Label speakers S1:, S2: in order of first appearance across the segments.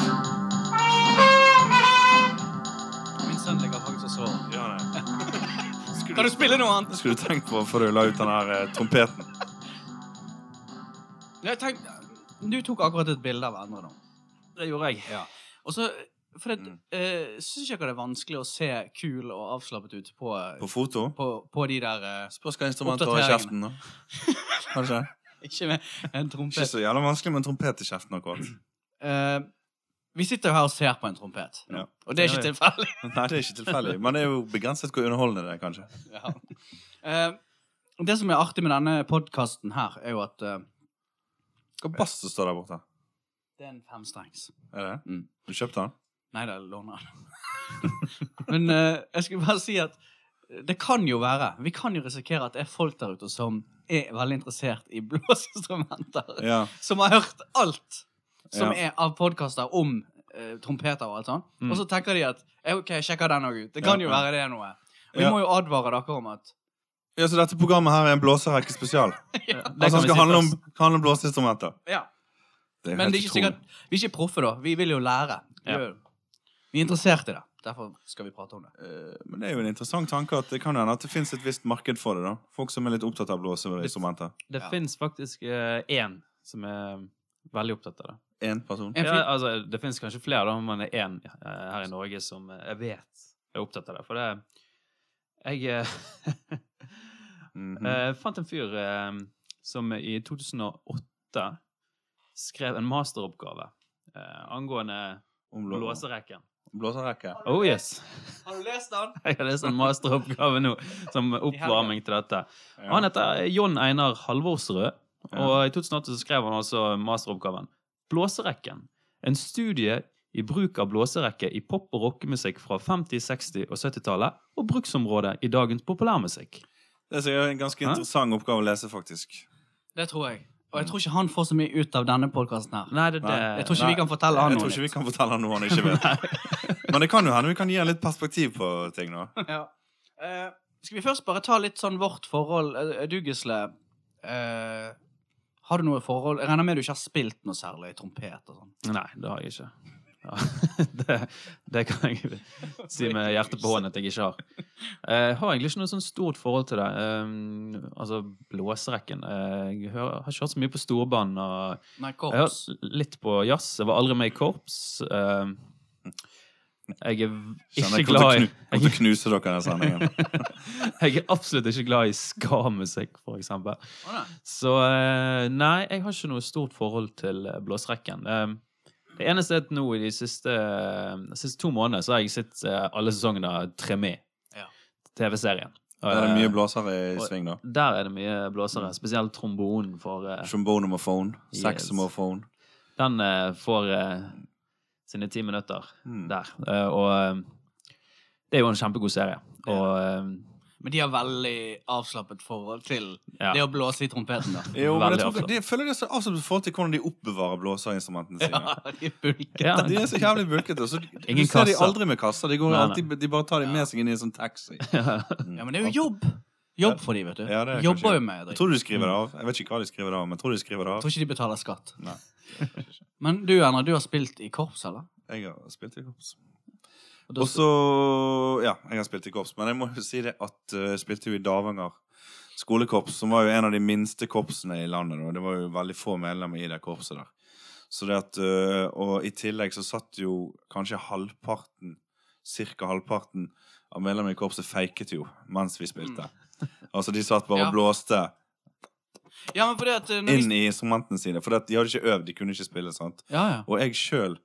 S1: annet skulle du tenkt på før du la ut den her eh, trompeten?
S2: Jeg tenkte, du tok akkurat et bilde av Endre nå. Det gjorde jeg.
S3: Ja.
S2: Og så for det,
S1: Mm.
S2: eh, syns ikke det er vanskelig å se kul og avslappet ut på,
S1: På foto?
S2: på, på de der eh,
S1: Spørs hva instrumentet har i kjeften, da. Kanskje?
S2: Ikke med en
S1: Ikke
S2: trompet.
S1: så jævla vanskelig med en trompet i kjeften akkurat.
S2: Eh, vi sitter jo her og ser på en trompet,
S1: Ja.
S2: og det er ikke
S1: Ja, ja.
S2: tilfeldig.
S1: Nei, det er ikke tilfeldig. Men det er jo begrenset hvor underholdende det er, kanskje.
S2: Ja. Eh, det som er artig med denne podkasten her, er jo at eh,
S1: Hva bass som står der borte?
S2: det er en femstrengs.
S1: Er det? det?
S2: Mm.
S1: Du kjøpte den?
S2: Nei, da låner han. Men eh, jeg skulle bare si at eh, det kan jo være Vi kan jo risikere at det er folk der ute som er veldig interessert i blåseinstrumenter.
S1: Ja.
S2: Som har hørt alt som
S1: Ja.
S2: er av podkaster om eh, trompeter og alt sånt.
S1: Mm.
S2: Og så tenker de at eh, OK, jeg sjekker den òg ut. Det kan
S1: Ja,
S2: jo
S1: ja.
S2: være det er noe. Og vi
S1: Ja.
S2: må jo advare dere om at
S1: ja, så dette programmet her er en blåserekke spesial.
S2: ja, det
S1: Altså,
S2: kan
S1: det
S2: vi si
S1: skal handle om,
S2: først.
S1: handle om blåseinstrumenter.
S2: ja.
S1: Det er
S2: Men
S1: helt
S2: det er ikke
S1: utrolig.
S2: sikkert, vi er ikke proffe, da. Vi vil jo lære. Vi,
S3: Ja.
S2: er jo- vi er interessert i det. Derfor skal vi prate om det.
S1: Eh, Men det er jo en interessant tanke at det kan hende at det fins et visst marked for det. da Folk som er litt opptatt av blåseinstrumenter.
S3: Det
S2: Ja.
S3: fins faktisk eh, én som er veldig opptatt av det.
S1: Én person.
S2: En
S3: Ja,
S2: fyr-
S3: altså, det fins kanskje flere, da, men det er én eh, her i Norge som eh, jeg vet er opptatt av det. For det Jeg eh,
S1: Mhm.
S3: eh, fant en fyr eh, som i 2008 skrev en masteroppgave eh, angående
S1: Om blå-
S3: blåserekken.
S1: blåserekke.
S3: Oh yes!
S2: Har du lest den?
S3: Jeg har lest en sånn masteroppgave nå som oppvarming til dette.
S1: Ja.
S3: Han heter Jon Einar Halvorsrød,
S1: Ja.
S3: og i 2008 så skrev han altså masteroppgaven Blåserekken. En studie i bruk av blåserekke i pop- og rockemusikk fra 50-, 60- og 70-tallet, og bruksområdet i dagens populærmusikk.
S1: Det er sikkert en ganske
S3: Hæ?
S1: interessant oppgave å lese, faktisk.
S2: Det tror jeg. Og jeg tror ikke han får så mye ut av denne podkasten her.
S3: Nei, det, det
S1: Mm. Nei,
S2: Jeg tror ikke
S1: Nei,
S2: vi kan fortelle han
S1: Jeg
S2: noe.
S1: tror ikke vi kan fortelle han noe han ikke vet. Men det kan jo hende vi kan gi han litt perspektiv på ting nå.
S2: nytt. Ja. Eh, skal vi først bare ta litt sånn vårt forhold? Eh, Du, Gisle, eh, har du noe forhold? Jeg regner med du ikke har spilt noe særlig trompet og sånn.
S3: Nei, det har jeg ikke. Ja, det, det kan jeg si med hjertet på hånden at jeg ikke har. Eh, Jeg har egentlig ikke noe sånn stort forhold til det. Eh, altså blåserekken eh, Jeg hører, har ikke hørt så mye på storbanen. og
S2: Nei,
S3: Jeg
S2: korps.
S3: har hørt litt på jazz. Jeg var aldri med i korps. Eh, jeg er
S1: Kjenner
S3: ikke
S1: jeg kommer
S3: glad
S1: til
S3: i
S1: å knu- kommer til å knuse dere i den sendingen.
S3: Jeg er absolutt ikke glad i ska-musikk, for eksempel.
S2: Å, nei.
S3: Så eh, nei, jeg har ikke noe stort forhold til eh, blåserekken. Eh, Det eneste er at nå i de siste, eh, siste to månedene så har jeg sett eh, alle sesongene av Tremé,
S2: Ja.
S3: TV-serien.
S1: Der er det mye
S3: Eh,
S1: blåsere i
S3: og-
S1: sving, da.
S3: Der er det mye blåsere, spesielt trombonen for eh,
S1: Trombonemophone.
S3: Yes.
S1: Saxomophone.
S3: Den eh, får eh, sine ti minutter
S1: Mm.
S3: der. Eh, Og eh, det er jo en kjempegod serie. Og eh,
S2: Men de har veldig avslappet forhold til
S3: ja.
S2: det å blåse i trompeten, da.
S1: Jo, men jeg,
S3: Veldig
S1: tror,
S3: avslappet.
S1: det, jeg føler det er så avslappet forhold til hvordan de oppbevarer blåserinstrumentene sine.
S2: Ja, de bulker.
S3: Ja,
S1: De er så jævlig bulkete. og Så
S3: Ingen
S1: du ser de
S3: kasser.
S1: aldri med kasser. De, går
S3: Nei, nei.
S1: alltid, de bare tar de med seg inn i en sånn taxi.
S2: Ja, men det er jo jobb. Jobb for de, vet du.
S1: Ja, det er kanskje-
S2: Jobber jo med
S1: Jeg
S2: det.
S1: tror du de skriver det av. Jeg vet ikke hva de skriver det av, men jeg tror de skriver det
S2: Jeg
S1: av.
S2: tror ikke de betaler skatt.
S1: Nei.
S2: Men du, Endre, du har spilt i korps, eller?
S1: Jeg har spilt i korps.
S2: Og da-
S1: Og så Ja, jeg har spilt i korps, men jeg må jo si det at eh, jeg spilte jo i Davanger skolekorps, som var jo en av de minste korpsene i landet. Da. Det var jo veldig få medlemmer i det korpset der. Så det at, eh, og i tillegg så satt jo kanskje halvparten, ca. halvparten av medlemmene i korpset feiket jo mens vi spilte. Altså de satt bare
S2: Mm. Ja.
S1: og blåste
S2: Ja, men fordi at eh, når vi-
S1: inn i instrumentene sine. For de hadde ikke øvd, de kunne ikke spille. sant?
S2: Ja, ja.
S1: Og jeg sjøl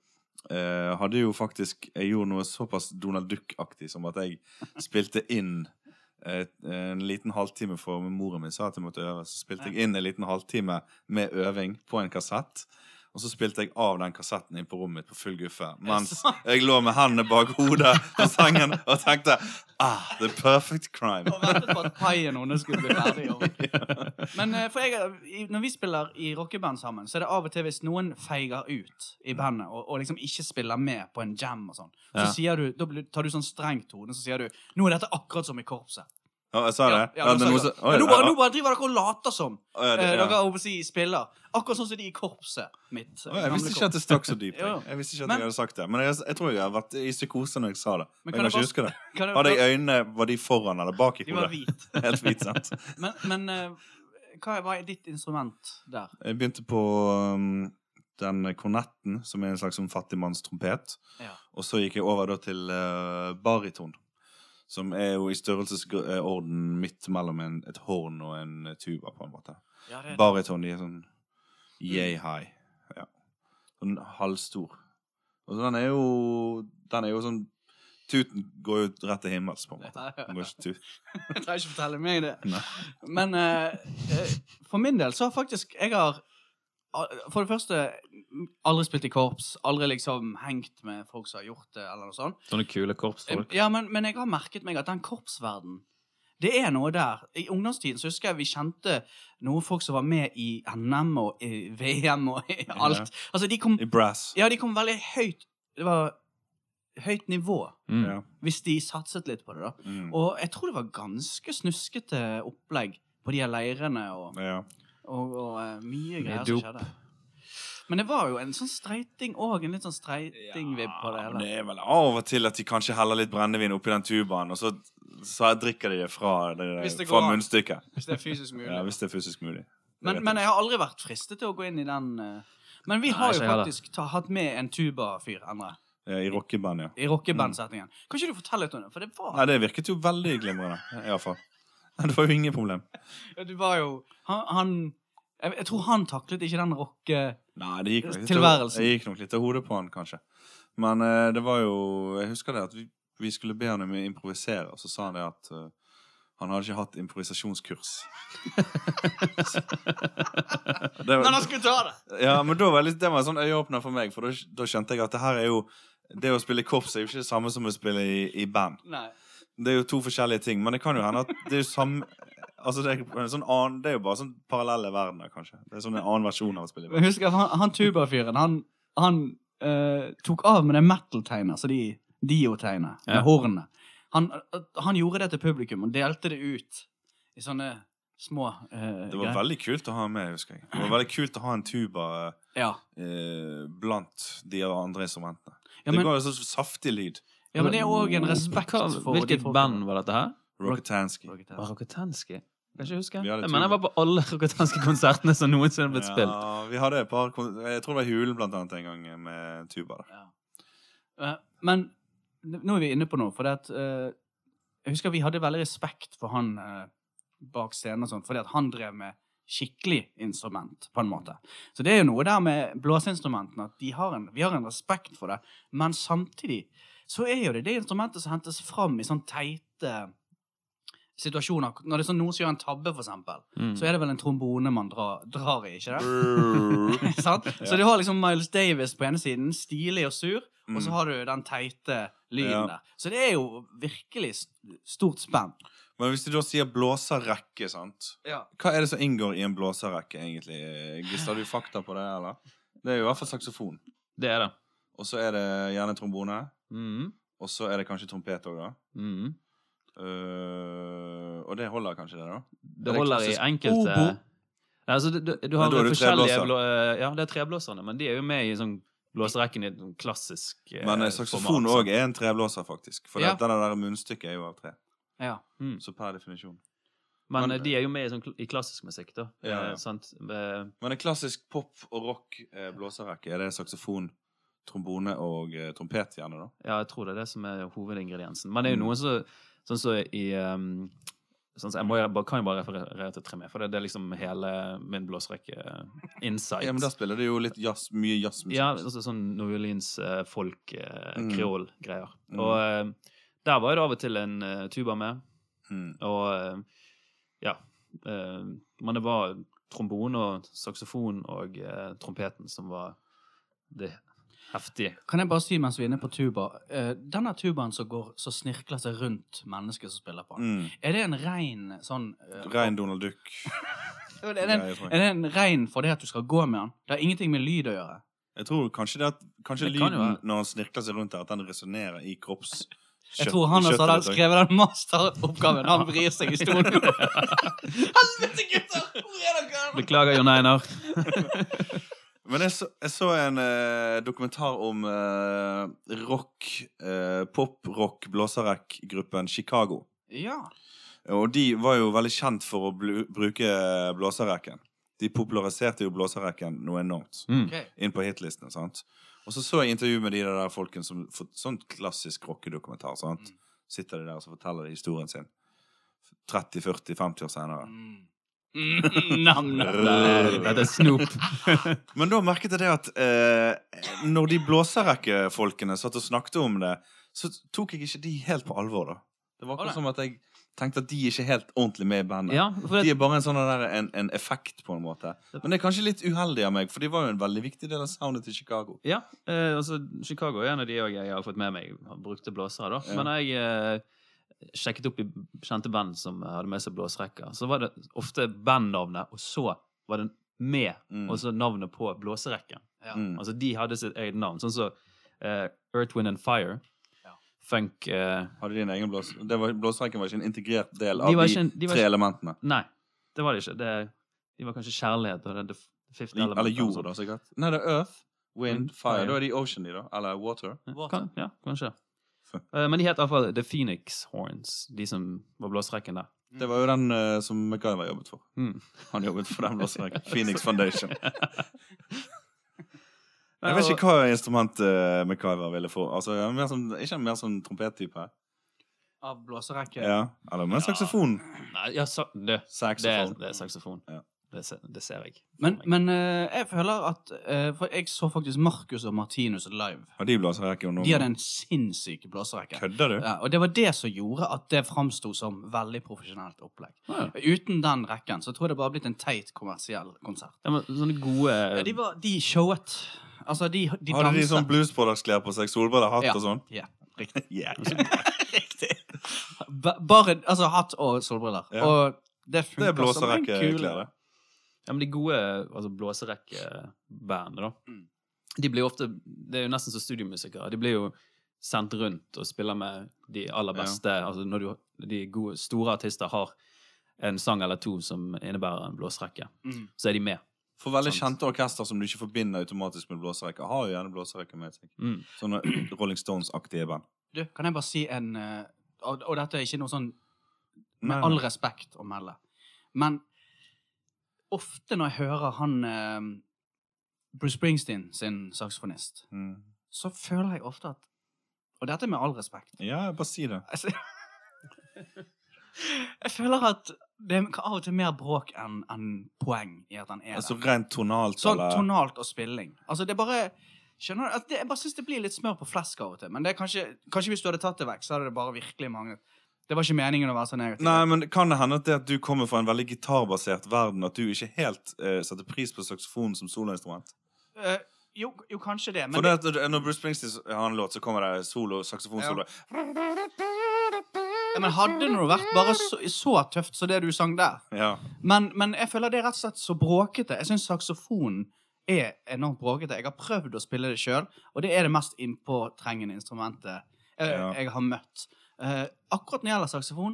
S1: eh, hadde jo faktisk Jeg gjorde noe såpass Donald Duck-aktig som at jeg spilte inn eh, en liten halvtime for moren min sa at jeg måtte øve. Så spilte jeg inn en liten halvtime med øving på en kassett. Og så spilte jeg av den kassetten inn på rommet mitt på full guffe. Mens jeg lå med hendene bak hodet på sengen og tenkte Ah, the perfect crime.
S2: og ventet på at paien hennes skulle bli ferdig. og- Men eh, for jeg, i- når vi spiller i rockeband sammen, så er det av og til hvis noen feiger ut
S1: Mm.
S2: i bandet og, og liksom ikke spiller med på en jam og sånn, så
S3: Ja.
S2: sier du, da blir- tar du sånn streng tone, så sier du 'Nå er dette akkurat som i korpset'.
S1: Ja, jeg sa det?
S2: Ja, ja,
S1: det
S2: nå sa
S1: er noe
S2: jeg
S1: som-
S2: det.
S1: Oi,
S2: Men nå bare,
S1: ja,
S2: nå bare driver dere og later som.
S1: Å, ja,
S2: Eh,
S1: det- ja.
S2: Dere håper å si spiller. Akkurat sånn som de i korpset mitt. eh,
S1: Å, jeg visste ikke at det stakk så dypt.
S2: Ja.
S1: Jeg Jeg visste ikke at
S2: Men-
S1: jeg hadde sagt det. Men jeg, jeg tror jeg har vært i psykose når jeg sa det.
S2: Men kan
S1: Men jeg kan
S2: jeg
S1: ikke huske det.
S2: Kan jeg-
S1: Hadde jeg øynene, Var de foran eller bak i
S2: De var
S1: hodet?
S2: hvite.
S1: Helt hvit, sant?
S2: Men, men eh, hva var ditt instrument der?
S1: Jeg begynte på um, den kornetten, som er en slags sånn fattigmannstrompet.
S2: Ja.
S1: Og så gikk jeg over da til eh, bariton, som er jo i størrelsesorden midt mellom en, et horn og en tuba, på en måte.
S2: Ja, det er
S1: Bariton, de er sånn yay high. Ja. Sånn halvstor. Og så den er jo Den er jo sånn Tuten går jo rett til himmels, på en måte. Den går ikke til
S2: Jeg trenger ikke fortelle meg det.
S1: Nei.
S2: Men eh, eh, for min del så har faktisk jeg har al- For det første aldri spilt i korps. Aldri liksom hengt med folk som har gjort det, eller noe sånt.
S3: Sånne kule korpsfolk.
S2: Ja, men, men jeg har merket meg at den korpsverdenen det er noe der. I ungdomstiden så husker jeg vi kjente noen folk som var med i NM og i VM og i alt. Altså, de kom,
S1: I brass.
S2: ja, de kom veldig høyt Det var høyt nivå
S3: Mm.
S1: Ja.
S2: hvis de satset litt på det, da.
S1: Mm.
S2: Og jeg tror det var ganske snuskete opplegg på de her leirene og,
S1: ja.
S2: og, og eh, mye
S3: Med
S2: greier
S3: dop.
S2: som skjedde. Men det var jo en sånn streiting òg. En litt sånn streitingvibb på det
S1: Ja, men
S2: hele.
S1: det er vel av og til at de kanskje heller litt brennevin oppi den tubaen, og så, så drikker de det fra, det,
S2: Hvis det går
S1: fra
S2: an.
S1: munnstykket.
S2: Hvis det er fysisk mulig.
S1: Ja, hvis det er fysisk mulig. Det
S2: men,
S1: vet
S2: men
S1: jeg
S2: jeg har aldri vært fristet til å gå inn i den eh, Men vi
S3: Nei,
S2: har jo
S3: ikke jeg heller.
S2: faktisk ta, hatt med en tuba-fyr, Endre,
S1: ikke. I rockeband, ja.
S2: i rockebandsettingen. Kan ikke du fortelle litt om det? For det var,
S1: Mm. Nei, det virket jo veldig glimrende, iallfall. Det var jo ingen problem.
S2: ja, du var jo Han, han jeg, jeg tror han taklet ikke den rocke...
S1: Nei, det gikk nok litt
S2: Tilværelsen.
S1: Det gikk nok litt av hodet på han, kanskje. Men eh, det var jo Jeg husker det at vi, vi skulle be han om å improvisere, og så sa han det at eh, han hadde ikke hatt improvisasjonskurs. Så- det,
S2: Men
S1: var,
S2: han skulle ta det!
S1: ja, men da var litt, det var en sånn øyeåpner for meg, for da, da skjønte jeg at det her er jo det å spille i korps er jo ikke det samme som å spille i, i band.
S2: Nei.
S1: Det er jo to forskjellige ting, men det kan jo hende at det er jo samme Altså, det er, en sånn annen, det er jo bare sånn parallelle verdener, kanskje. Det er sånn en annen versjon av å spille i band.
S2: Men husker jeg, han, han tuba-fyren, han, han eh, tok av med det metal-tegnet, altså de Dio-tegnet, med
S3: Ja.
S2: hornene. Han, han gjorde det til publikum og delte det ut i sånne små eh,
S1: Det var
S2: greier.
S1: veldig kult å ha med, husker jeg. Det var veldig kult å ha en tuba
S2: ja.
S1: eh, blant de andre instrumentene.
S2: Ja, men,
S1: det ga jo så saftig lyd.
S2: ja, men det er òg en respekt
S3: Hva-
S2: for de
S3: Hvilket
S2: folkene.
S3: band var dette her?
S1: Rockatansky.
S3: Var Rokotanski? Kan ikke huske.
S1: Vi hadde
S3: Jeg
S1: to.
S3: mener jeg var på alle rokotanske konsertene som noensinne har blitt spilt.
S1: Ja, vi hadde et par kon- Jeg tror det var Hulen blant annet en gang eh, med tuba. der.
S2: Ja. Eh, Men n- nå er vi inne på noe, for det at eh, Jeg husker vi hadde veldig respekt for han eh, bak scenen og sånn, fordi at han drev med skikkelig instrument, på en måte. Så det er jo noe der med blåseinstrumentene, at de har en, vi har en respekt for det, men samtidig så er jo det det instrumentet som hentes fram i sånn teite situasjoner. Når det er sånn noen som gjør en tabbe, for eksempel,
S3: Mm.
S2: så er det vel en trombone man drar, drar i, ikke det?
S1: Brrr.
S2: Sant? Så du har liksom Miles Davis på ene siden, stilig og sur, og så har du den teite lyden
S1: Ja.
S2: der. Så det er jo virkelig s- stort spenn.
S1: Mm. Men hvis du da sier blåserrekke, sant Hva er det som inngår i en blåserrekke, egentlig? Gisle, har du fakta på det, eller? Det er jo i hvert fall saksofon.
S3: Det er det.
S1: Og så er det gjerne trombone.
S3: Mm.
S1: Og så er det kanskje trompet òg, da.
S3: Mm.
S1: Eh, og det holder kanskje, det, da? Er
S3: Det
S1: det
S3: holder i
S1: klassisk
S3: enkelte
S1: obo?
S3: Nei, altså, du, du, du
S1: Men
S3: har
S1: da er det
S3: forskjellige
S1: treblåser.
S3: blå, eh, Ja, det er treblåserne, men de er jo med i sånn blåserekken i et sånn klassisk eh,
S1: Men eh, saksofon
S3: format,
S1: òg er en treblåser, faktisk. For
S2: Ja.
S1: det, det der munnstykket er jo av tre.
S2: Ja.
S3: Mm.
S1: Så per definisjon.
S3: Men
S1: Men-
S3: eh, de er jo med i, sånn, kl- i klassisk musikk, da.
S1: Ja, ja.
S3: Eh, sant? Eh,
S1: Men en klassisk pop- og rock-blåserrekke, er det saksofon, trombone og eh, trompet, gjerne, da?
S3: ja, jeg tror det er det som er hovedingrediensen. Men det er jo
S1: Mm.
S3: noen som Sånn som i um, sånn som, Jeg må, jo bare- kan jo bare referere til Tremé, for det, det er liksom hele min blåserekke eh, insight.
S1: Ja, men der spiller det jo litt jazz, mye jazzmusikk.
S3: Ja, altså sånn New Orleans eh, folk, eh,
S1: Mm.
S3: kreol-greier.
S1: Mm.
S3: Og eh, der var det av og til en eh, tuba med,
S1: Mm.
S3: og eh, ja eh, Men det var trombone og saksofon og eh, trompeten som var det heftige.
S2: Kan jeg bare si mens vi er inne på tuba eh, Denne tubaen som går så snirkler seg rundt mennesket som spiller på den,
S1: Mm.
S2: er det en rein sånn eh,
S1: Rein Donald Duck.
S2: Er det en,
S1: Ja, jeg tror jeg.
S2: er det en rein for det at du skal gå med den? Det har ingenting med lyd å gjøre.
S1: Jeg tror kanskje det at Kanskje
S3: Det kan jo
S1: lyden
S3: være.
S1: når han snirkler seg rundt her, at den resonnerer i kropps
S2: Jeg
S1: Kjøtt-
S2: tror Hannes
S1: kjøttet
S2: hadde
S1: ditt,
S2: skrevet den masteroppgaven. Han vrir seg i stolen. Helvete, gutter! Hvor er dere?
S3: Beklager, Jon Einar.
S1: Men jeg så, jeg så en eh, dokumentar om eh, rock, eh, pop-rock, blåserekkgruppen Chicago.
S2: Ja.
S1: Og de var jo veldig kjent for å blu, bruke blåserekken. De populariserte jo blåserekken noe enormt.
S3: Mm.
S2: ok.
S1: Inn på hitlistene, sant. Og så så jeg intervju med de der folkene som for, Sånn klassisk rockedokumentar, sant.
S2: Mm.
S1: Sitter de der og så forteller de historien sin 30-40-50 år senere.
S2: Mm. Mm, nam, nam.
S3: Dette er snop.
S1: Men da merket jeg det at eh, når de blåserekkefolkene satt og snakket om det, så tok jeg ikke de helt på alvor, da. Det var
S2: Å, nei.
S1: akkurat som at jeg tenkte at de er ikke helt ordentlig med i bandet.
S3: Ja, for
S1: De
S3: det,
S1: er bare en sånn der, en, en effekt, på en måte. Men det er kanskje litt uheldig av meg, for de var jo en veldig viktig del av soundet til Chicago.
S3: ja eh, altså, Chicago er en av de også jeg har fått med meg. Han Brukte blåsere, da.
S1: Ja.
S3: Men jeg eh, sjekket opp i kjente band som hadde med seg blåserekker. Så var det ofte bandnavnet, og så var det med,
S1: Mm.
S3: og så navnet på blåserekken.
S2: Ja.
S1: Mm.
S3: Altså, de hadde sitt eget navn. Sånn som eh, Earth, Wind and Fire.
S2: Ja.
S3: Funk eh,
S1: Hadde de en egen blås... det var- Blåserekken var ikke en integrert del av
S3: De
S1: de,
S3: var ikke en- de var
S1: tre
S3: ikke-
S1: elementene.
S3: Nei, det var det ikke. Det, de var kanskje kjærlighet og det, det fifth
S1: Eller,
S3: element,
S1: eller jord,
S3: sånt.
S1: da, sikkert. Nei, det er earth, wind,
S3: Wind,
S1: fire.
S3: altså. Mm. fire. Mm.
S1: Da er de ocean, de, da. Eller water.
S3: Ja,
S2: Water.
S3: kan, ja, kanskje.
S1: Så.
S3: Eh, men de het iallfall The Phoenix Horns, de som var blåserekken der.
S1: Det var jo den eh, som MacGyver jobbet for.
S3: Mm.
S1: Han jobbet for den blåserekken. Phoenix Foundation. Jeg vet ikke hva instrument eh, MacGyver ville få. Altså, han er mer sånn, ikke en mer sånn trompettype.
S2: Av blåserekke.
S1: Ja. Eller med en
S3: Ja.
S1: saksofon.
S3: Nei, ja, sa, det, det, er,
S1: Saxofon.
S3: det er saksofon.
S1: Ja.
S3: Det, se- det ser jeg.
S2: Men, men eh, jeg føler at eh, For jeg så faktisk Marcus og Martinus live.
S1: Har de blåserekke om
S2: De hadde
S1: noen?
S2: en sinnssyk blåserekke.
S1: Kødder du?
S2: Ja, og det var det som gjorde at det framsto som veldig profesjonelt opplegg.
S3: Ja.
S2: Uten den rekken så tror jeg det bare hadde blitt en teit kommersiell konsert.
S3: Ja, men sånne gode eh,
S2: Ja, de, var, de showet. Altså, de, de
S1: Hadde de
S2: danset.
S1: sånn Blues Brothers-klær på seg? Solbriller, hatt
S2: Ja.
S1: og sånn?
S2: Ja, riktig.
S1: Yeah.
S2: riktig. Ba- Bare altså, hatt og solbriller.
S1: Ja.
S2: Og det
S1: Det er
S2: funker som en kule.
S1: blåserekkeklær, det.
S3: Ja, men de gode altså blåserekkebandene, da.
S2: Mm.
S3: De blir jo ofte Det er jo nesten som studiomusikere. De blir jo sendt rundt og spiller med de aller
S1: Ja.
S3: beste Altså når du, de gode, store artister har en sang eller to som innebærer en blåserekke,
S2: Mm.
S3: så er de med.
S1: For veldig
S3: Sant.
S1: kjente orkester som du ikke forbinder automatisk med blåserekke, har jo gjerne blåserekke med seg.
S3: Mm.
S1: Sånne Rolling Stones-aktige band.
S2: Du, kan jeg bare si en eh, og, og dette er ikke noe sånn
S1: Nei,
S2: Med
S1: nei.
S2: all respekt å melde. Men ofte når jeg hører han eh, Bruce Springsteen sin saksofonist,
S1: Mm.
S2: så føler jeg ofte at Og dette er med all respekt.
S1: Ja, bare si det.
S2: Altså, jeg føler at det er av og til mer bråk enn enn poeng i at han er
S1: Altså
S2: der.
S1: rent tonalt,
S2: Sånn
S1: eller
S2: tonalt og spilling. Altså, det er bare Skjønner du? At det, jeg bare syns det blir litt smør på flesk av og til. Men det er kanskje, kanskje hvis du hadde tatt det vekk, så hadde det bare virkelig manglet. Det var ikke meningen å være så negativ.
S1: Nei, men kan det hende at det at du kommer fra en veldig gitarbasert verden, at du ikke helt eh, setter pris på saksofonen som soloinstrument?
S2: Eh, jo, jo, kanskje det.
S1: For
S2: Men
S1: det, at du- når Bruce Springsteen har en låt, så kommer det solo, saksofonsolo.
S2: Ja, Men hadde det nå vært bare så, så tøft som det du sang der.
S1: Ja.
S2: Men, men jeg føler det er rett og slett så bråkete. Jeg syns saksofonen er enormt bråkete. Jeg har prøvd å spille det sjøl, og det er det mest innpåtrengende instrumentet jeg,
S1: Ja.
S2: jeg har møtt. Eh, akkurat når det gjelder saksofon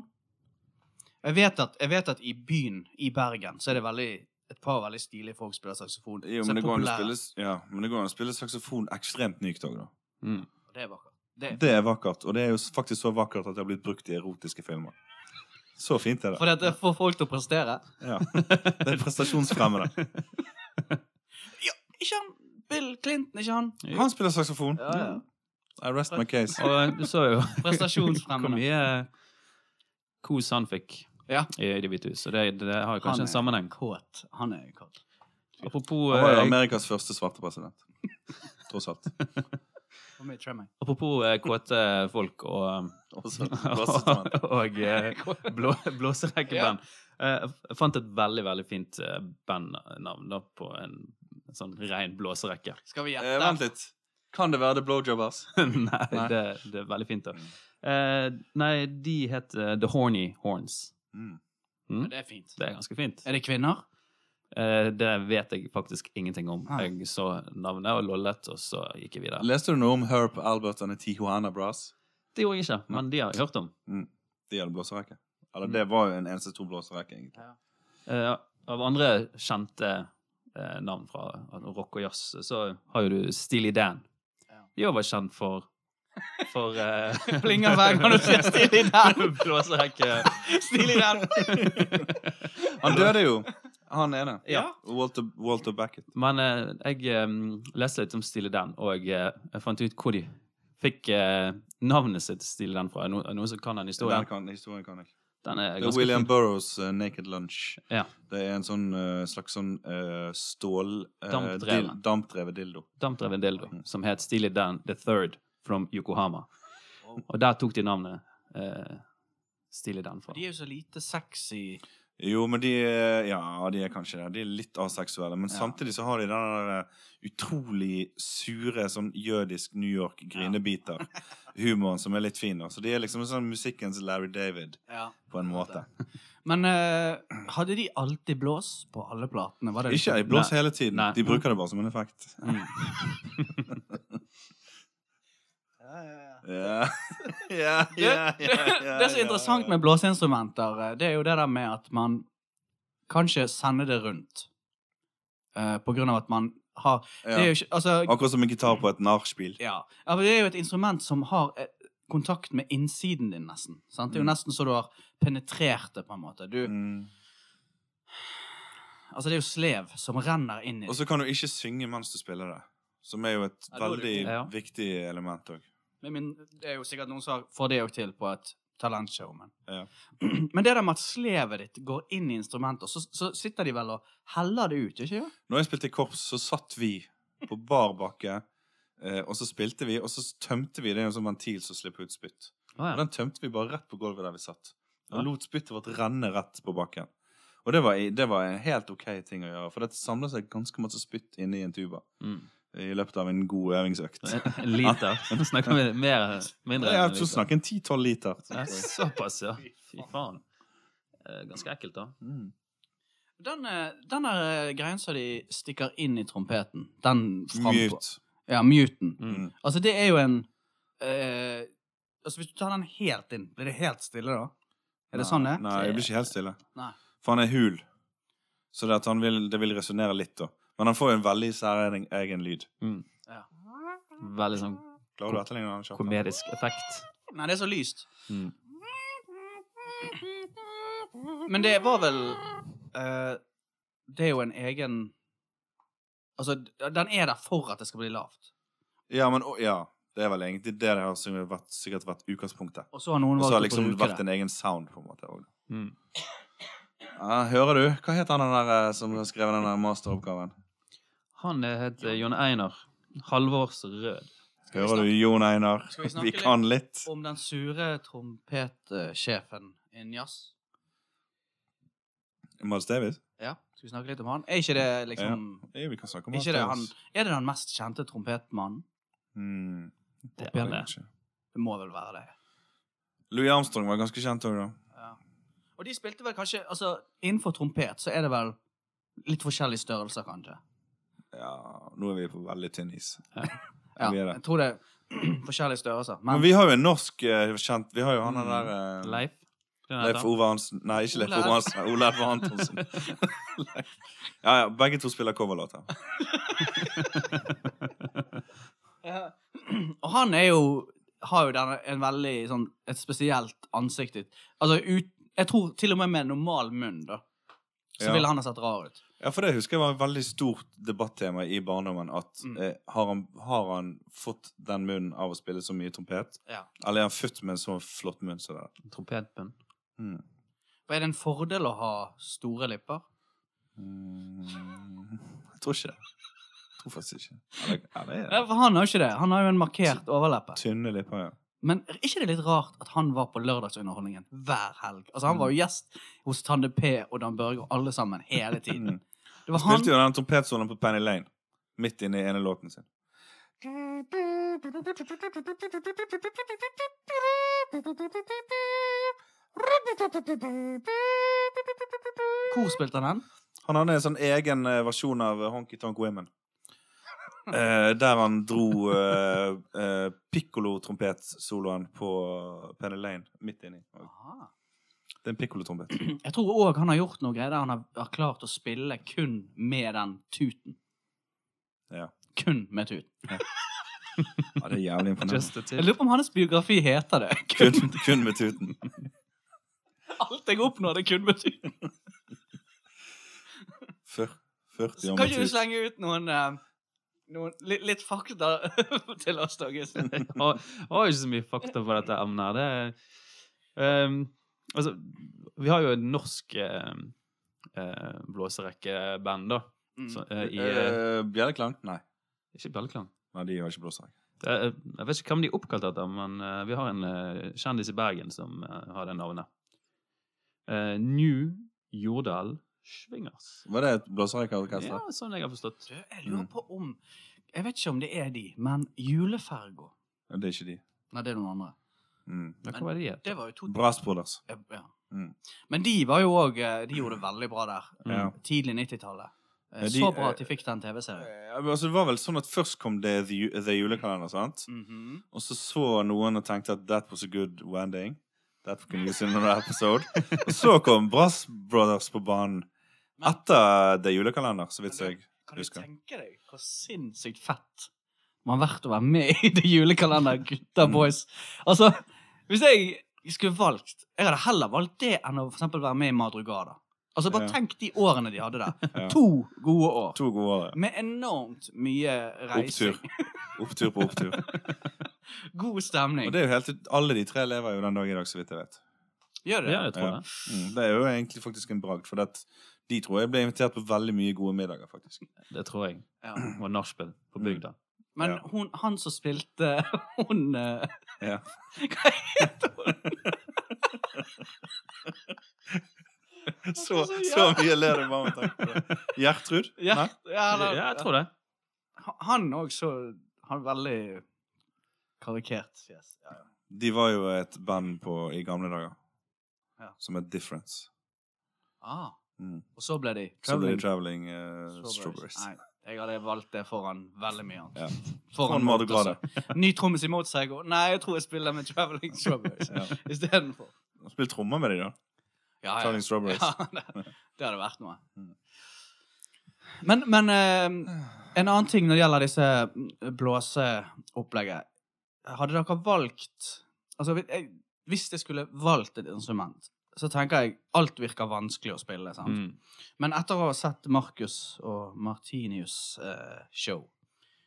S2: jeg vet, at, jeg vet at i byen, i Bergen, så er det veldig, et par veldig stilige folk som spiller saksofon.
S1: Jo,
S2: som
S1: men
S2: er
S1: det går an å
S2: populære.
S1: spille, ja, men det går an å spille saksofon ekstremt mykt òg, da.
S3: Mm.
S2: Det er vakkert. Det,
S1: Det er vakkert, og det er jo s- faktisk så vakkert at det har blitt brukt i erotiske filmer. Så fint er det.
S2: for det får folk til å prestere.
S1: Ja. Det er prestasjonsfremmende.
S2: Ikke han Bill Clinton, ikke han?
S1: Han spiller saksofon.
S2: Ja, ja.
S1: I rest my case.
S3: Og eh, du så jo hvor
S2: Prestasjonsfremmende.
S3: mye kos han fikk
S2: Ja.
S3: i Det hvite hus, og det, det har jo kanskje
S2: Han
S3: en sammenheng.
S2: Kåt. Han er kåt.
S3: Apropos,
S1: Han var jo
S3: eh,
S1: Amerikas første svarte president. Tross alt.
S2: Hvor mye tror jeg meg?
S3: apropos eh, kåte folk og eh,
S1: Også, blåseinstrument.
S3: og eh, blå, blåserekkeband. Eh, Jeg fant et veldig veldig fint eh, bandnavn da, på en sånn ren blåserekke.
S2: Skal vi
S1: Eh, vent
S2: gjette?
S1: litt. Kan det være The Blowjobbers?
S3: nei,
S1: Nei.
S3: Det, det er veldig fint, da. Eh, nei, de het eh, The Horny Horns.
S1: Mm.
S3: Mm?
S2: det er fint.
S3: Det er ganske fint.
S2: Er det kvinner?
S3: Eh, det vet jeg faktisk ingenting om.
S2: Nei.
S3: Jeg så navnet og lollet, og så gikk jeg videre.
S1: Leste du noe om Herb Albert and the Tijuana Brass?
S3: det gjorde jeg ikke, men de har jeg hørt om.
S1: De hadde blåserekke. Eller
S3: Mm.
S1: det var jo en eneste to blåserekke, egentlig.
S3: Eh, av andre kjente eh, navn fra rock og jazz, så har jo du Steely Dan.
S2: Ja.
S3: De òg var kjent for For eh,
S2: Plinger hver gang du ser Steely Dan.
S3: Blåserekke.
S2: Stilig den!
S1: Han døde jo, han ene.
S2: Ja.
S1: Walter, Walter Beckett.
S3: Men eh, jeg eh, leste litt om Steely Dan, og eh, jeg fant ut hvor de fikk eh, navnet sitt Steely Dan fra. Er det no- er det noen som kan den
S1: Den
S3: historien?
S1: kan, historien kan jeg.
S3: Den er
S1: Det er
S3: ganske
S1: William
S3: fin.
S1: Burroughs eh, Naked Lunch.
S3: Ja.
S1: Det er en sånn, eh, slags sånn eh, stål... eh,
S3: Dampdreven.
S1: dil- Dampdrevet dildo.
S3: Dampdreven dildo, som het Steely Dan the Third from Yokohama. Og der tok de navnet eh, Steely Dan fra.
S2: De er jo så lite sexy.
S1: Jo, men de er- Ja, de er kanskje det. De er litt aseksuelle. Men
S2: Ja.
S1: samtidig så har de den der eh, utrolig sure, sånn jødisk New York-grinebiter-humoren som er litt fin. da. Så de er liksom sånn musikkens Larry David, på en måte.
S2: Men eh, hadde de alltid blås på alle platene? Var det
S1: Ikke i blås hele tiden.
S3: Nei.
S2: Mm.
S1: De bruker det bare som en effekt.
S2: Ja, ja, ja.
S1: Ja, ja,
S2: Det, det, det er så interessant med blåseinstrumenter, eh, det er jo det der med at man kanskje sender det rundt. Eh, på grunn av at man har Det er jo ikke Altså,
S1: Akkurat som en gitar på et nachspiel.
S2: Ja. ja, men det er jo et instrument som har eh, kontakt med innsiden din, nesten. Sant? Det er jo
S1: Mm.
S2: nesten så du har penetrert det, på en måte. Du,
S1: Mm.
S2: Altså, det er jo slev som renner inn i
S1: Og så kan du ikke synge mens du spiller det. Som er jo et
S2: Ja, da er det
S1: veldig
S2: jo-
S3: Ja.
S1: viktig element òg.
S2: Men min, det er jo sikkert noen som har- får det òg til på et talentshow, men
S1: Ja.
S2: Men det der med at slevet ditt går inn i instrumenter, så, så sitter de vel og heller det ut, ikke sant?
S1: Når jeg spilte i korps, så satt vi på bar bakke, eh, og så spilte vi, og så tømte vi. Det er jo en sånn ventil som slipper ut spytt.
S3: Å,
S1: Og
S3: ja.
S1: den tømte vi bare rett på gulvet der vi satt. Og
S3: Ja.
S1: lot spyttet vårt renne rett på bakken. Og det var, det var en helt OK ting å gjøre, for det samler seg ganske masse spytt inni en tuba.
S3: Mm.
S1: I løpet av en god øvingsøkt.
S3: En liter. Nå snakker vi mer, mindre
S1: Ja,
S3: enn en
S1: så
S3: liter.
S1: snakker en 10-12 liter.
S3: Ja, Såpass, ja. Fy faen. Eh, Ganske ekkelt, da.
S1: Mm.
S2: Den, eh, den der eh, greien som de stikker inn i trompeten, den frampå
S1: Mute.
S2: Ja, muten.
S3: Mm.
S2: Altså, det er jo en eh, Altså, hvis du tar den helt inn, blir det helt stille da? Er det sånn det?
S1: Nei, det blir ikke helt stille.
S2: Nei.
S1: For han er hul. Så det, at han vil, det vil resonnere litt, da. Men han får jo en veldig særegen egen lyd.
S3: Mm. Veldig sånn
S1: Klarer du å etterligne den? Kjartan?
S3: komedisk effekt.
S2: Nei, det er så lyst.
S3: Mm.
S2: Men det var vel eh, Det er jo en egen Altså, d- den er der for at det skal bli lavt.
S1: Ja, men å- ja. Det er vel egentlig det det har sikkert vært, sikkert vært utgangspunktet.
S2: Og så har noen
S1: Og så har
S2: valgt å
S1: liksom
S2: bruke
S1: vært
S2: det.
S1: en egen sound, på en måte. også.
S3: Mm.
S1: Ja, hører du? Hva heter han den der eh, som har skrevet den der masteroppgaven?
S3: Han eh, heter Jon Einar Halvors Rød.
S2: Skal vi
S1: Hører du, Jon Einar?
S2: Skal vi snakke
S1: Vi
S2: litt
S1: kan litt.
S2: Om den sure trompetsjefen innen jazz.
S1: Miles Davis?
S2: Ja, skal vi snakke litt om han? Er ikke det liksom
S1: Ja, vi kan snakke om
S2: er,
S1: Miles
S2: ikke det, han,
S1: Davis.
S2: er det den mest kjente trompetmannen?
S1: Mm.
S3: Det
S1: Ja,
S3: er det.
S1: kanskje.
S2: Det må vel være det.
S1: Louis Armstrong var ganske kjent òg, da.
S2: Ja. Og de spilte vel kanskje Altså, innenfor trompet så er det vel litt forskjellige størrelser, kanskje.
S1: Ja, nå er vi på veldig tynn is.
S2: Ja,
S1: Vi er det.
S2: jeg tror det er forskjellige størrelser.
S1: Men vi har jo en norsk eh, kjent Vi har jo han
S3: Mm.
S1: der eh,
S3: Leif? Den heter
S1: Leif
S3: han.
S1: Ove Hansen Nei, ikke
S2: Olav.
S1: Leif Ove Hansen. Ole Edvard Antonsen. Leif. ja, ja. Begge to spiller coverlåter.
S2: Ja. Og han er jo har jo denne, en veldig, sånn, et spesielt ansikt. ut. Altså, ut, jeg tror til og med med normal munn, da, så
S1: Ja.
S2: ville han ha sett rar ut.
S1: Ja, for det husker jeg var et veldig stort debattema i barndommen. At
S2: Mm.
S1: eh, har, han, har han fått den munnen av å spille så mye trompet?
S2: Ja.
S1: Eller er han født med en så flott munn som det? der?
S3: Trompetbunn.
S1: Mm.
S2: Og er det en fordel å ha store lipper?
S1: Mm. Jeg tror ikke det. Jeg tror faktisk ikke. Eller, ja, det
S2: Ja,
S1: er
S2: for han har jo ikke det. Han har jo en markert overleppe.
S1: tynne lipper, ja.
S2: Men er ikke det litt rart at han var på lørdagsunderholdningen hver helg? Altså, han var
S1: Mm.
S2: jo gjest hos Tande P og Dan Børge og alle sammen hele tiden.
S1: Mm.
S2: Det var han
S1: Spilte jo den trompetsolen på Penny Lane. Midt inne i ene låten sin.
S2: Hvor spilte han den?
S1: Han hadde en sånn egen eh, versjon av eh, Honky Tonk Women. Eh, der han dro uh, pikkolotrompetsoloen på Penny Lane midt inni. Og
S2: Aha.
S1: Det er en pikkolotrompet.
S2: Jeg tror òg han har gjort noe greier der han har, har klart å spille kun med den tuten.
S1: Ja.
S2: Kun med tuten.
S1: Ja, det er jævlig imponerende.
S3: Just a
S2: Jeg
S3: tip.
S2: lurer på om hans biografi heter det. Kun,
S1: Kun, kun med tuten.
S2: alt jeg oppnår, det er kun med tuten.
S1: Fyr, 40
S2: Så
S1: år
S2: kan
S1: med
S2: ikke du
S1: tut.
S2: slenge ut noen, eh, noen litt, litt fakta til oss, Daggesen?
S3: Jeg har jeg har ikke så mye fakta på dette emnet. her. Det er, ehm, altså, vi har jo en norsk ehm, eh, blåserekkeband, da.
S2: Mm.
S3: Så, eh, i, eh,
S1: Eh, Bjelleklang? Nei.
S3: ikke Bjelleklang.
S1: Nei, de har ikke blåsere.
S3: Det er- Eh, Jeg vet ikke hvem de er oppkalt etter, men eh, vi har en eh, kjendis i Bergen som eh, har det navnet. Eh, New Jordal Svingers.
S1: Var det et blåserekorkester?
S3: Ja, sånn jeg har forstått.
S2: Du, jeg lurer
S1: Mm.
S2: på om Jeg vet ikke om det er de, men Julefergo
S1: Ja. Det er ikke de.
S2: Nei, det er noen andre.
S1: Mm.
S3: Ja, Hva var det de het?
S2: Det var jo to
S1: Brass Brothers.
S2: ja.
S1: Mm.
S2: Men de var jo òg De gjorde det veldig bra der.
S1: Ja.
S2: Tidlig 90-tallet. Eh,
S1: Ja, de-
S2: Så bra at de fikk den TV-serien.
S1: Eh, men altså, det var vel sånn at først kom The, Ju- the Julekalender, sant?
S2: Mhm.
S1: Og så så noen og tenkte at that was a good wedding. That can use in another episode. Og så kom Brass Brothers på banen etter The Julekalender, så vidt jeg
S2: Kan du
S1: Husker.
S2: tenke deg hvor sinnssykt fett man har vært å være med i det julekalender, gutta
S1: Mm.
S2: boys? Altså, hvis jeg skulle valgt Jeg hadde heller valgt det enn å for eksempel være med i Madrugada. Altså, bare
S1: Ja.
S2: tenk de årene de hadde der.
S1: Ja.
S2: To gode år.
S1: To gode år. ja.
S2: Med enormt mye reising.
S1: Opptur. Opptur på opptur.
S2: God stemning.
S1: Og det er jo helt, ut- alle de tre lever jo den dag i dag, så vidt jeg vet.
S2: Gjør det?
S3: Ja, jeg tror
S1: Ja.
S3: det.
S1: Mm, det er jo egentlig faktisk en bragd, for det, de tror jeg ble invitert på veldig mye gode middager, faktisk.
S3: Det tror jeg.
S2: Ja.
S3: Det var nachspiel på bygda.
S2: Men
S1: Ja.
S2: hun, han som spilte Hun eh,
S1: Ja.
S2: Hva heter hun?
S1: Så, så mye ler du bare med tanke på det. Gjertrud?
S2: Ja, ja, da-
S3: Ja, jeg tror det.
S2: Han òg så Han er veldig karikert fjes. Ja, ja.
S1: De var jo et band på, i gamle dager
S2: Ja.
S1: som het Difference.
S2: Ah,
S1: Mm.
S2: og så ble de
S1: Så
S2: Traveling
S1: ble det Traveling eh, Strawberries.
S2: Nei, jeg hadde valgt det foran veldig mye annet.
S1: Ja.
S2: Foran
S1: Foran Mardi Gras,
S2: Mozart også. Ny trommis i Mozego. Nei, jeg tror jeg spiller med Traveling Strawberries
S1: Ja.
S2: istedenfor.
S1: Spill trommer med de, da.
S2: Ja, ja.
S1: Traveling Strawberries.
S2: Ja, det, det hadde vært noe.
S1: Mm.
S2: Men, men eh, en annen ting når det gjelder disse mm, blåseopplegget Hadde dere valgt Altså, hvis jeg, hvis jeg skulle valgt et instrument, så tenker jeg alt virker vanskelig å spille. sant?
S3: Mm.
S2: Men etter å ha sett Markus og Martinius' eh, show,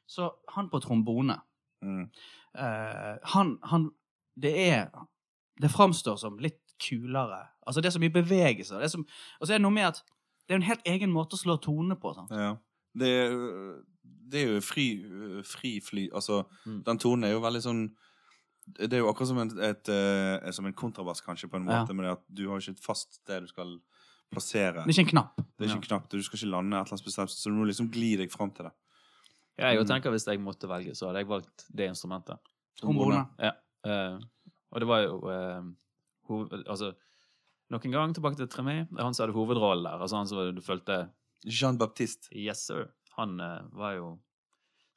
S2: så han på trombone
S1: Mm.
S2: eh, han, han Det er Det framstår som litt kulere. Altså, det er så mye bevegelse. Det er som, og så er det noe med at det er en helt egen måte å slå tonene på. sånn. Sant?
S1: Ja. Det, er, øh, det er jo fri, øh, fri fly Altså,
S3: Mm.
S1: den tonen er jo veldig sånn Det er jo akkurat som en, et, øh, som en kontrabass, kanskje, på en
S2: Ja.
S1: måte, men det at du har jo ikke et fast sted du skal plassere.
S2: Det er ikke en knapp.
S1: Det er ikke en knapp, du skal ikke lande et eller annet bestemt, så du må liksom gli deg fram til det.
S3: Ja, jeg
S1: Mm.
S3: tenker Hvis jeg måtte velge, så hadde jeg valgt det instrumentet.
S2: Trombone.
S3: Eh, og det var jo eh, hoved, Altså, nok en gang tilbake til Tremé. Det er Han som hadde hovedrollen der. Altså han som var- du følte
S1: Jean Baptiste
S3: Yes, sir. Han eh, var jo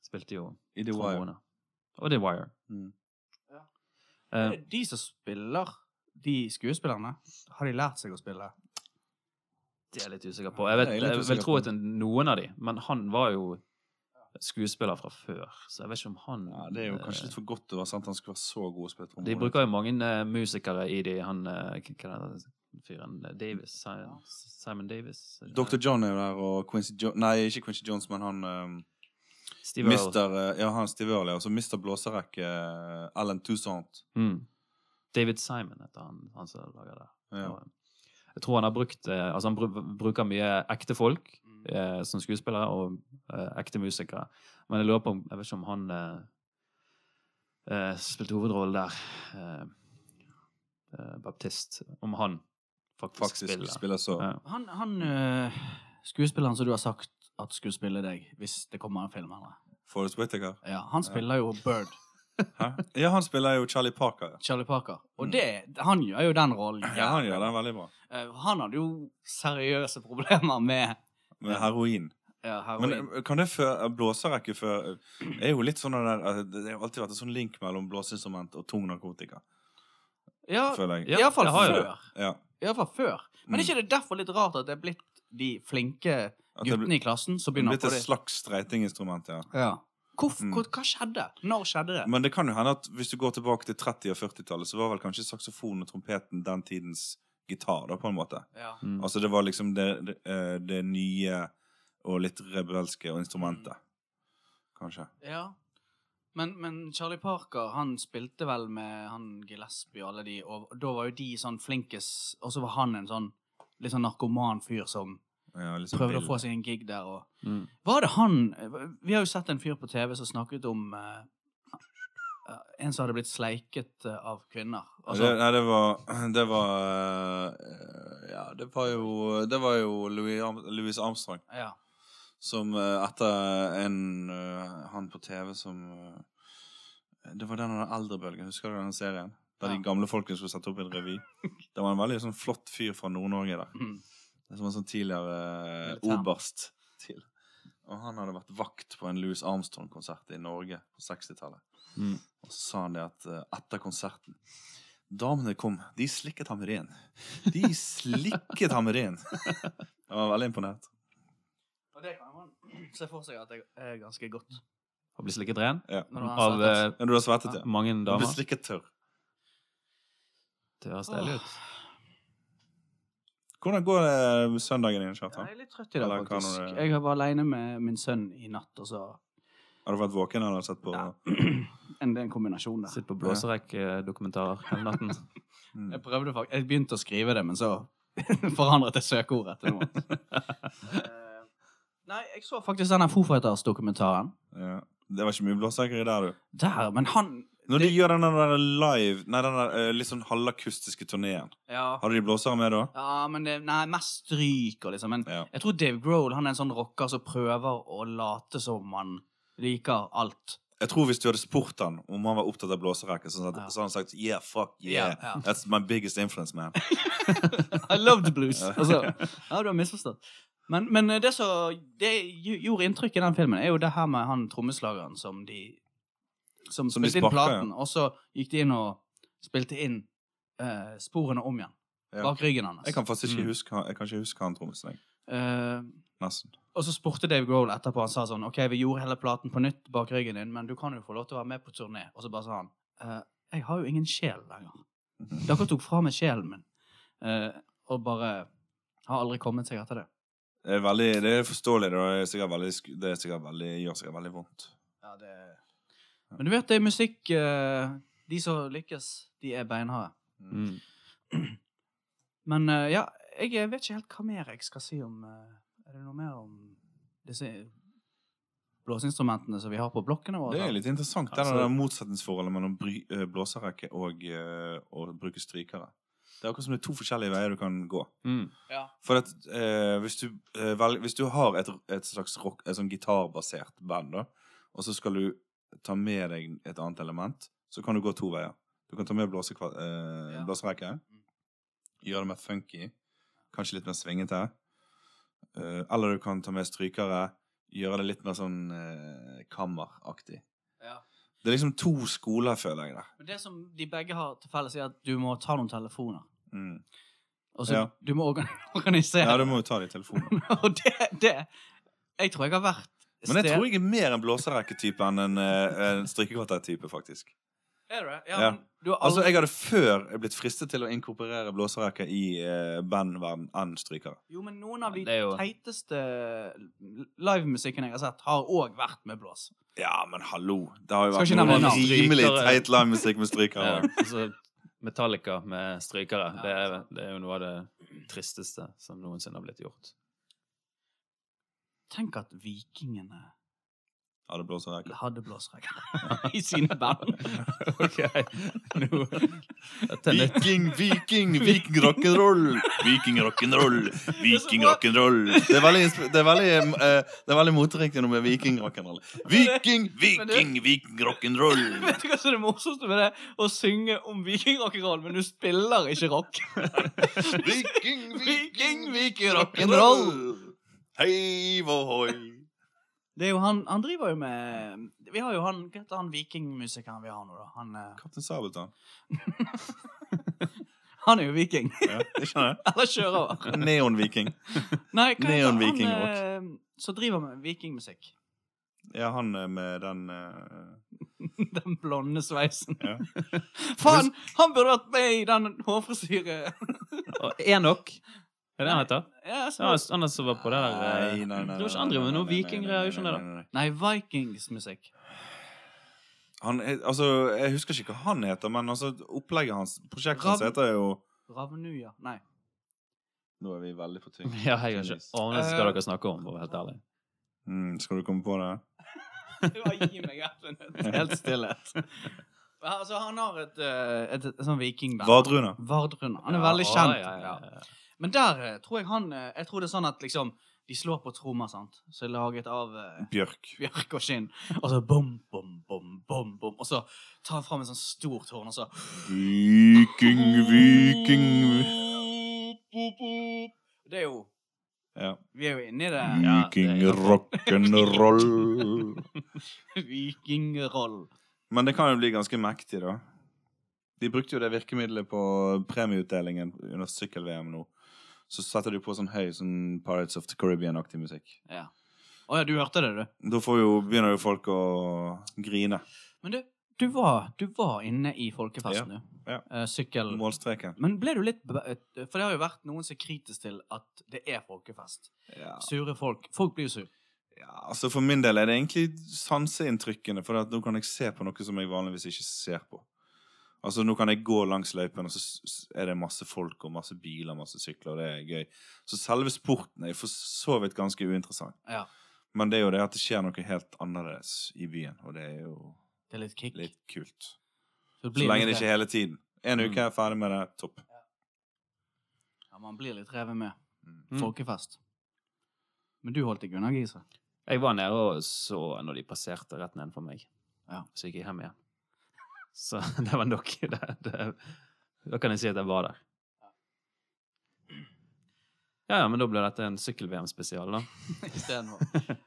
S3: Spilte jo
S1: i The Wire.
S3: trombone. Og The Wire.
S1: Mm.
S2: Det
S3: Eh,
S2: er De som spiller, de skuespillerne, har de lært seg å spille?
S3: det er jeg litt usikker på. Jeg, vet,
S1: Det er jeg litt
S3: jeg,
S1: usikker
S3: vil tro
S1: på.
S3: at noen av de, men han var jo skuespiller fra før, så jeg vet ikke om han
S1: Ja, det er jo kanskje
S3: eh,
S1: litt for godt til å være sant. Han skulle være så god å spille trombone. liksom.
S3: De bruker jo mange eh, musikere i de han eh, Hva hva er det fyren eh, Davis? Si- Simon Davis? eh, er det
S1: Dr.
S3: det?
S1: John er jo der, og Quincy Jones Nei, ikke Quincy Jones, men han um,
S3: Steve Earle.
S1: Mister eh, Ja, han Steve Earle, altså Mister Blåserekke eh, Alan Toussaint.
S3: Mm. David Simon heter han, han som lager det.
S1: Ja.
S3: Og Jeg tror han har brukt eh, Altså, han bru- bruker mye ekte folk
S1: Mm.
S2: Ja.
S3: eh, som skuespillere og eh, ekte musikere. Men jeg lurer på om Jeg vet ikke om han eh, eh, spilte hovedrollen der. Eh, eh, Baptist. Om han faktisk,
S1: Faktisk
S3: spiller.
S1: spiller, så
S3: Ja.
S2: Han, han øh, skuespilleren som du har sagt at skulle spille deg hvis det kommer en film, eller?
S1: Forrest Whittaker.
S2: Ja, han spiller jo Bird,
S1: Hæ? Ja, han spiller jo Charlie Parker. ja.
S2: Charlie Parker. Og
S1: Mm.
S2: det, han gjør jo den rollen.
S1: Ja, han gjør den veldig bra.
S2: Eh, han hadde jo seriøse problemer med
S1: Med heroin.
S2: Ja,
S1: Men
S2: heroin.
S1: eh, kan det før, blåserekke før Det er jo litt sånn den der eh, Det har alltid vært en sånn link mellom blåseinstrument og tung narkotika,
S2: Ja,
S1: føler jeg.
S3: Ja,
S2: iallfall
S3: det har jo det.
S2: før.
S1: Ja.
S2: Iallfall før. Men er
S1: Mm.
S2: ikke det derfor litt rart at det er blitt de flinke
S1: At det
S2: guttene i klassen som
S1: blir
S2: begynner
S1: blitt
S2: på
S1: et
S2: det?
S1: slags streitinginstrument, ja.
S2: Ja. Hvorfor,
S1: Mm.
S2: hvor, hva skjedde? Når skjedde det?
S1: Men det kan jo hende at hvis du går tilbake til 30- og 40-tallet, så var vel kanskje saksofonen og trompeten den tidens gitar, da, på en måte.
S2: Ja.
S3: Mm.
S1: Altså det var liksom det, det, eh, det nye og litt rebelske og instrumentet.
S2: Mm.
S1: Kanskje.
S2: ja. Men, men Charlie Parker han spilte vel med han Gillespie og alle de, og da var jo de sånn flinkest, og så var han en sånn litt sånn narkoman fyr som
S1: Ja, liksom
S2: prøvde å
S1: vill.
S2: få seg en gig der. og...
S3: Mm.
S2: Var det han Vi har jo sett en fyr på TV som snakket om eh, en som hadde blitt sleiket eh, av kvinner. Altså,
S1: det, nei, det var Det var eh, Ja, det var jo Det var jo Louis, Arm- Louis Armstrong
S2: ja.
S1: som eh, etter en eh, Han på TV som eh, Det var den av den eldrebølgen. Husker du den serien? Der
S2: Ja.
S1: de gamle folkene skulle sette opp en revy. Det var en veldig sånn flott fyr fra Nord-Norge der.
S2: Mm.
S1: Som var sånn tidligere eh,
S2: Militær.
S1: oberst til. Og han hadde vært vakt på en Louis Armstrong-konsert i Norge på 60-tallet.
S3: Mm.
S1: Og så sa han det at eh, etter konserten Damene kom, de slikket ham ren. De slikket ham ren! Jeg var veldig imponert.
S2: Og det kan man se for seg at det er ganske godt.
S3: Har blitt slikket ren
S1: Ja.
S2: Når man har
S3: av
S2: sett
S1: Men du har svettet,
S3: eh,
S1: ja.
S3: mange
S1: Du ble
S3: damer.
S1: slikket tørr.
S3: Det høres deilig ut.
S1: Hvordan går det med søndagen
S2: Ja,
S1: din, Kjartan?
S2: jeg er litt trøtt i dag,
S1: Eller kan
S2: faktisk.
S1: du-
S2: Jeg var aleine med min sønn i natt, og så
S1: Har du vært våken eller sett på
S2: ja. en, det er en kombinasjon der.
S3: Sitt på blåserekk-dokumentarer hele natten.
S1: mm.
S2: Jeg prøvde faktisk Jeg begynte å skrive det, men så forandret jeg søkeordet etter noe. Eh, Nei, jeg så faktisk denne Foo Fighters-dokumentaren.
S1: ja. Det var ikke mye blåseker i der, du.
S2: Der, men han
S1: Når de gjør den der live Nei, den der eh, litt sånn halvakustiske turneen,
S2: Ja.
S1: hadde de blåsere med da?
S2: Ja, men det, nei, mest stryk og liksom. Men
S1: Ja.
S2: jeg tror Dave Grohl han er en sånn rocker som prøver å late som han liker alt.
S1: Jeg tror hvis du hadde spurt han om han var opptatt av blåserekke, så, hadde-
S2: Ja.
S1: så hadde han sagt yeah, fuck yeah.
S2: Ja, ja.
S1: That's my biggest influence, man.
S2: I love the blues.
S1: Ja.
S2: Altså, ja, du har misforstått. Men, men det som det gj- gjorde inntrykk i den filmen, er jo det her med han trommeslageren som de Som,
S1: Som de
S2: spilte inn
S1: sparker, ja.
S2: platen, og så gikk de inn og spilte inn eh, sporene om igjen.
S1: Ja.
S2: Bak ryggen hans.
S1: Jeg kan faktisk ikke
S3: Mm.
S1: huske, han- jeg kan ikke huske han trommisen, jeg.
S2: Eh,
S1: Nesten.
S2: Og så spurte Dave Grohl etterpå. Han sa sånn OK, vi gjorde hele platen på nytt bak ryggen din, men du kan jo få lov til å være med på turné. Og så bare sa han «Eh, Jeg har jo ingen sjel lenger. Dere tok fra meg sjelen min. Eh, og bare har aldri kommet seg etter det.
S1: Det er, veldig, det er forståelig. Det, er sikkert veldig, sk- det er sikkert veldig, gjør sikkert veldig vondt.
S2: Ja, det... Men du vet, det er musikk eh, De som lykkes, de er beinharde.
S3: Mm.
S2: Men eh, ja, jeg vet ikke helt hva mer jeg skal si om eh, Er det noe mer om disse blåseinstrumentene som vi har på blokkene våre?
S1: Det er litt interessant, det
S3: Altså-
S1: der motsetningsforholdet mellom bry, eh, blåserekke og eh, å bruke strykere. Det er akkurat som det er to forskjellige veier du kan gå.
S3: Mm.
S2: Ja.
S1: For at, eh, hvis, du, eh, vel, hvis du har et, et slags rock, et sånn gitarbasert band, da, og så skal du ta med deg et annet element, så kan du gå to veier. Du kan ta med blåse, eh,
S2: Ja.
S1: blåserekke, gjøre det mer funky, kanskje litt mer svingete. Eh, eller du kan ta med strykere, gjøre det litt mer sånn eh, kammeraktig.
S2: ja.
S1: Det er liksom to skoler, føler jeg. der.
S2: Men det som de begge har til felles, er at du må ta noen telefoner.
S1: Mm.
S2: Og så
S1: Ja.
S2: du må organ organisere.
S1: Ja, du må jo ta det i telefonen.
S2: og det, det Jeg tror jeg har vært
S1: Men jeg tror jeg er mer en blåserekketype enn en, eh, en strykekvartertype, faktisk.
S2: Er det? Ja,
S1: Ja.
S2: men du har
S1: Altså,
S2: aldri
S1: jeg hadde før blitt fristet til å inkorporere blåserekker i eh, bandverden enn strykere.
S2: Jo, men noen av de
S3: Ja, det er jo-
S2: teiteste livemusikken jeg har sett, har òg vært med blås.
S1: Ja, men hallo! Det har jo
S2: Skal
S1: vært
S2: ikke nevne
S1: noe
S2: navn.
S1: rimelig
S3: Strykere.
S1: teit livemusikk med strykere.
S3: Ja,
S1: også.
S3: altså, Metallica med
S2: Ja,
S3: strykere.
S2: altså.
S3: Det er,
S2: sant.
S3: det er jo noe av det tristeste som noensinne har blitt gjort.
S2: Tenk at vikingene
S1: Hadde blåserekker.
S2: hadde blåsregler i sine band.
S3: OK, nå Dette er nytt.
S1: Viking, viking, viking rock'n'roll! Viking rock'n'roll! Viking
S2: bra.
S1: rock'n'roll! Det er veldig, insp- det er veldig, eh, det er veldig moteriktig nå med viking rock'n'roll. Viking,
S2: Men det-
S1: viking, viking rock'n'roll!
S2: Vet du hva som er det morsomste med det? Å synge om vikingrock'n'roll, men du spiller ikke rock.
S1: Viking,
S2: Viking,
S1: viking, viking
S2: rock'n'roll.
S1: rock'n'roll! Hei, vohoi!
S2: Det er jo han, han driver jo med Vi har jo han Hva heter han vikingmusikeren vi har nå, da? Han, eh,
S1: Kaptein Sabeltann.
S2: han er jo viking.
S1: Ja, jeg skjønner det.
S2: Eller sjørøver.
S1: Neonviking.
S2: Nei, hva heter han
S1: Neonviking
S2: eh, som driver med vikingmusikk?
S1: Ja, han eh, med den eh,
S2: Den blonde sveisen.
S1: Ja.
S2: Faen, han burde vært med i den hårfrisyre...
S3: Og Enok. Er det han heter?
S2: Ja, jeg
S3: Ja,
S2: så-
S3: han som var på det der eh,
S1: Nei, nei, nei.
S3: Det var ikke
S1: nei,
S3: andre
S1: nei,
S3: med noe
S1: nei, nei, nei,
S3: vikinggreier,
S1: nei,
S3: skjønner
S1: nei,
S3: du.
S1: nei, nei.
S2: Nei, vikingsmusikk.
S1: Han, er- altså, jeg husker ikke hva han heter, men altså, opplegget hans, prosjektet hans
S2: Rav-
S1: heter jo
S2: Ravnuja. Nei.
S1: Nå er vi veldig på tynn.
S3: Ja, jeg har ikke anet hva
S2: Eh,
S3: dere snakker om, for å være helt ærlig.
S1: Mm, skal du komme på det?
S2: Bare gi meg ett minutt. Helt stillhet. Altså, han har et, eh, et, et sånn vikingband.
S1: Vardruna.
S2: Vardruna. Han er
S3: Ja,
S2: veldig
S3: å,
S2: kjent.
S3: ja, ja, ja.
S2: Men der eh, tror jeg han eh, Jeg tror det er sånn at liksom De slår på trommer, sant? Som er laget av eh,
S1: Bjørk.
S2: bjørk og skinn. Og så bom, bom, bom, bom, bom. Og så tar han fram en sånn stor tårn, og så
S1: Viking, viking vi-
S2: Det er jo
S1: Ja.
S2: Vi er jo inne i det.
S3: Ja, det er
S1: Viking
S3: helt-
S1: rock'n'roll.
S2: Vikingroll.
S1: Men det kan jo bli ganske mektig, da. De brukte jo det virkemidlet på premieutdelingen under sykkel-VM nå. Så setter du på sånn høy sånn Pirates of the Caribbean-aktig musikk.
S2: Ja. Å ja, du hørte det, du.
S1: Da får jo, begynner jo folk å grine.
S2: Men du, du var, du var inne i folkefesten, du.
S1: ja.
S2: Eh, sykkel...
S1: Målstreken.
S2: Men ble du litt be- For det har jo vært noen som er kritisk til at det er folkefest.
S1: Ja.
S2: Sure folk. Folk blir jo sur.
S1: ja, altså For min del er det egentlig sanseinntrykkene, for at nå kan jeg se på noe som jeg vanligvis ikke ser på. Altså Nå kan jeg gå langs løypen, og så s- s- er det masse folk og masse biler masse sykler. og det er gøy. Så selve sporten er for så vidt ganske uinteressant.
S2: Ja.
S1: Men det er jo det at det skjer noe helt annerledes i byen, og det er jo
S2: Det er litt kick.
S1: litt kult.
S2: Så det
S1: Så
S2: blir
S1: lenge det
S2: litt
S1: ikke er hele tiden. En
S3: Mm.
S1: uke er jeg ferdig med det. Topp.
S2: Ja, man blir litt revet med.
S3: Mm.
S2: Folkefest. Men du holdt deg unna, Gise.
S3: Jeg var nede og så når de passerte rett nedenfor meg.
S2: Ja.
S3: Så gikk jeg hjem igjen. Så det var nok. Det, det, da kan jeg si at jeg var der. Ja, ja, men da ble dette en sykkel-VM-spesial, da.
S2: Istedenfor.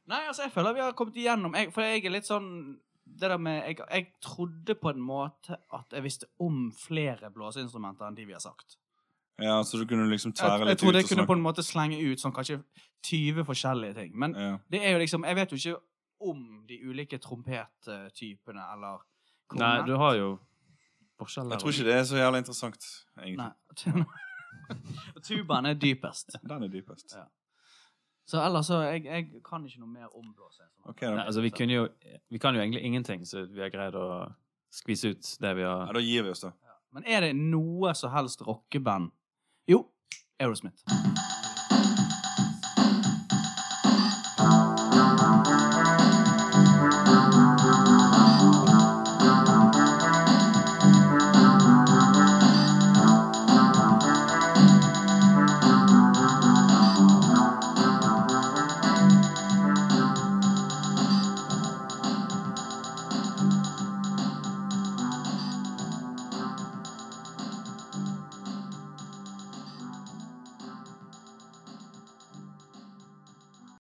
S2: Nei, altså, jeg føler vi har kommet igjennom jeg, For jeg er litt sånn det der med, jeg, jeg trodde på en måte at jeg visste om flere blåseinstrumenter enn de vi har sagt.
S1: Ja, Så du kunne liksom
S2: Jeg,
S1: tvære
S2: jeg
S1: litt
S2: trodde
S1: ut
S2: jeg
S1: og
S2: kunne på
S1: snakke.
S2: en måte slenge ut sånn kanskje 20 forskjellige ting. Men
S1: Ja.
S2: Det er jo liksom Jeg vet jo ikke om de ulike trompettypene eller
S3: Nei, du har jo forskjell
S1: Jeg tror ikke det er så jævla interessant, egentlig.
S2: Nei. Tubaen er dypest.
S1: Den er dypest.
S2: Ja. Så ellers så jeg, jeg kan ikke noe mer om blåsing.
S1: Ok, da.
S3: Nei, altså, vi, kunne jo, vi kan jo egentlig ingenting, så vi har greid å skvise ut det vi
S1: Ja,
S3: har
S1: da gir vi oss, da.
S2: Men er det noe som helst rockeband Jo, Aerosmith.